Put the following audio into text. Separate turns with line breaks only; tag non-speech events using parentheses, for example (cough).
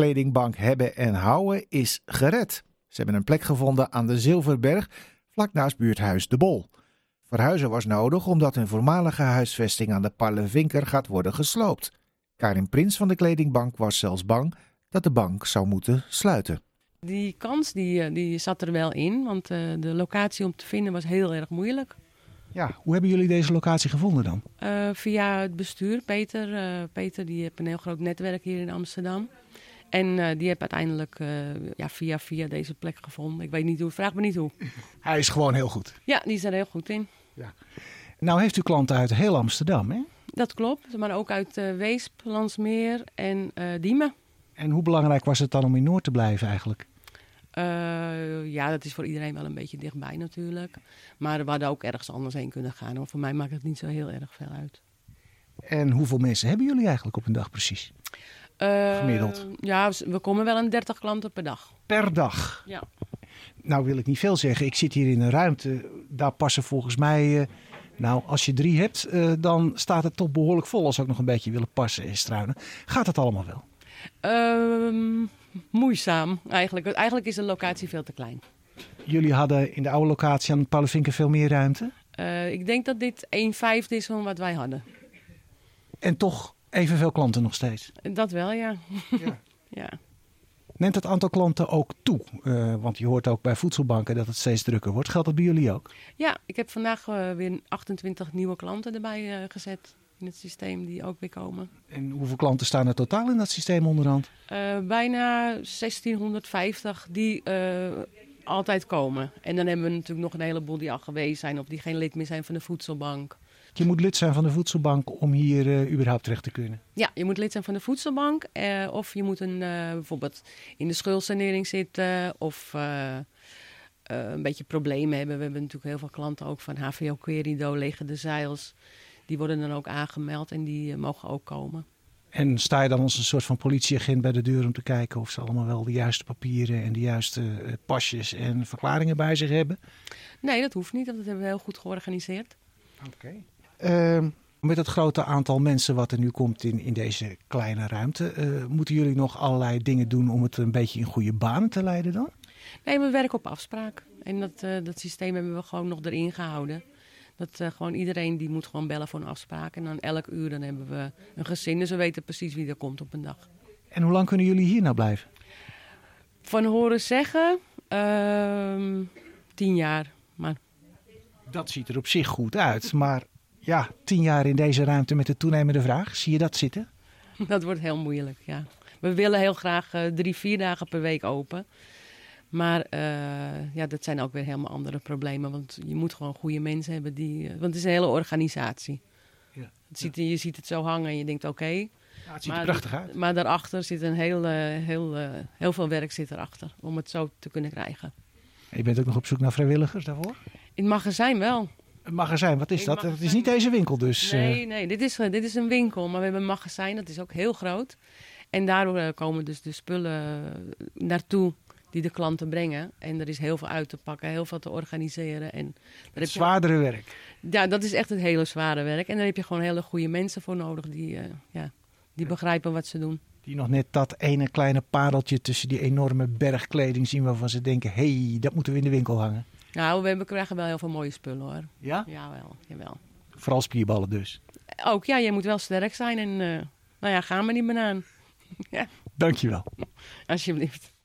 kledingbank hebben en houden is gered. Ze hebben een plek gevonden aan de Zilverberg, vlak naast buurthuis De Bol. Verhuizen was nodig omdat hun voormalige huisvesting aan de Parlevinker gaat worden gesloopt. Karin Prins van de kledingbank was zelfs bang dat de bank zou moeten sluiten.
Die kans die, eh, die zat er wel in, want eh, de locatie om te vinden was heel erg moeilijk.
Ja, hoe hebben jullie deze locatie gevonden dan?
Eh, via het bestuur, Peter. Eh, Peter die heeft een heel groot netwerk hier in Amsterdam. En eh, die heeft uiteindelijk eh, ja, via via deze plek gevonden. Ik weet niet hoe, vraag me niet hoe.
Hij is gewoon heel goed.
Ja, die is er heel goed in.
Nou heeft u klanten uit heel Amsterdam, hè?
Dat klopt, maar ook uit eh, Weesp, Landsmeer en eh, Diemen.
En hoe belangrijk was het dan om in Noord te blijven eigenlijk?
Eh, ja, dat is voor iedereen wel een beetje dichtbij natuurlijk. Maar we hadden ook ergens anders heen kunnen gaan. Hoor. Voor mij maakt het niet zo heel erg veel uit.
En hoeveel mensen hebben jullie eigenlijk op een dag precies?
Eh,
Gemiddeld.
Ja, we komen wel aan 30 klanten per dag.
Per dag.
Ja.
Nou wil ik niet veel zeggen. Ik zit hier in een ruimte. Daar passen volgens mij... eh, nou, als je drie hebt, eh, dan staat het toch behoorlijk vol... als ze ook nog een beetje willen passen en struinen. Gaat het allemaal wel?
Ehm, moeizaam eigenlijk. Want Eigenlijk is de locatie veel te klein.
Jullie hadden in de oude locatie aan het Palenvinken veel meer ruimte.
Eh, ik denk dat dit 1 vijfde is van wat wij hadden.
En toch evenveel klanten nog steeds.
Dat wel, ja.
Ja.
(laughs) ja.
Neemt het aantal klanten ook toe? Eh, want je hoort ook bij voedselbanken dat het steeds drukker wordt. Geldt dat bij jullie ook?
Ja, ik heb vandaag eh, weer 28 nieuwe klanten erbij eh, gezet in het systeem die ook weer komen.
En hoeveel klanten staan er totaal in dat systeem onderhand?
Eh, bijna 1650 die eh, altijd komen. En dan hebben we natuurlijk nog een heleboel die al geweest zijn of die geen lid meer zijn van de voedselbank.
Je moet lid zijn van de voedselbank om hier eh, überhaupt terecht te kunnen.
Ja, je moet lid zijn van de voedselbank. eh, of je moet een, eh, bijvoorbeeld in de schuldsanering zitten. Of eh, eh, een beetje problemen hebben. We hebben natuurlijk heel veel klanten ook van HVO Querido, Lege de Zeils. Die worden dan ook aangemeld en die eh, mogen ook komen.
En sta je dan als een soort van politieagent bij de deur om te kijken of ze allemaal wel de juiste papieren en de juiste eh, pasjes en verklaringen bij zich hebben?
Nee, dat hoeft niet, want dat hebben we heel goed georganiseerd.
Ehm, met het grote aantal mensen wat er nu komt in, in deze kleine ruimte, eh, moeten jullie nog allerlei dingen doen om het een beetje in goede banen te leiden dan?
Nee, we werken op afspraak. En dat, eh, dat systeem hebben we gewoon nog erin gehouden. Dat eh, gewoon iedereen die moet gewoon bellen voor een afspraak. En dan elk uur dan hebben we een gezin. Dus we weten precies wie er komt op een dag.
En hoe lang kunnen jullie hier nou blijven?
Van horen zeggen, ehm, tien jaar. (laughs) Maar
Dat ziet er op zich goed uit, maar ja, tien jaar in deze ruimte met de toenemende vraag, zie je dat zitten?
dat wordt heel moeilijk, ja. We willen heel graag eh, drie, vier dagen per week open. Maar eh, ja, dat zijn ook weer helemaal andere problemen. Want je moet gewoon goede mensen hebben die... eh, want het is een hele organisatie.
Ja,
Het ziet, Je ziet het zo hangen en je denkt, oké.
het
ziet er Maar- prachtig
uit.
Maar daarachter zit een heel, eh, heel, eh, heel veel werk zit erachter. Om het zo te kunnen krijgen.
Je bent ook nog op zoek naar vrijwilligers daarvoor?
In het magazijn wel.
Een magazijn, wat is
Een
dat? Dat is
magazijn.
niet deze winkel dus. eh,
Nee, nee, dit is, eh, dit is een winkel, maar we hebben een magazijn, dat is ook heel groot. En daardoor eh, komen dus de spullen eh, naartoe die de klanten brengen. En er is heel veel uit te pakken, heel veel te organiseren. En daar heb je-
zwaardere werk.
ja, dat is echt het hele zware werk. En daar heb je gewoon hele goede mensen voor nodig die, eh, ja, die begrijpen wat ze doen.
Die nog net dat ene kleine pareltje tussen die enorme berg kleding zien waarvan ze denken, hé, hey, dat moeten we in de winkel hangen.
Nou, we hebben- krijgen wel heel veel mooie spullen hoor.
Ja?
Jawel, jawel.
Vooral spierballen dus.
Ook ja, je moet wel sterk zijn en eh, nou ja, ga maar niet banaan.
Dankjewel.
Alsjeblieft.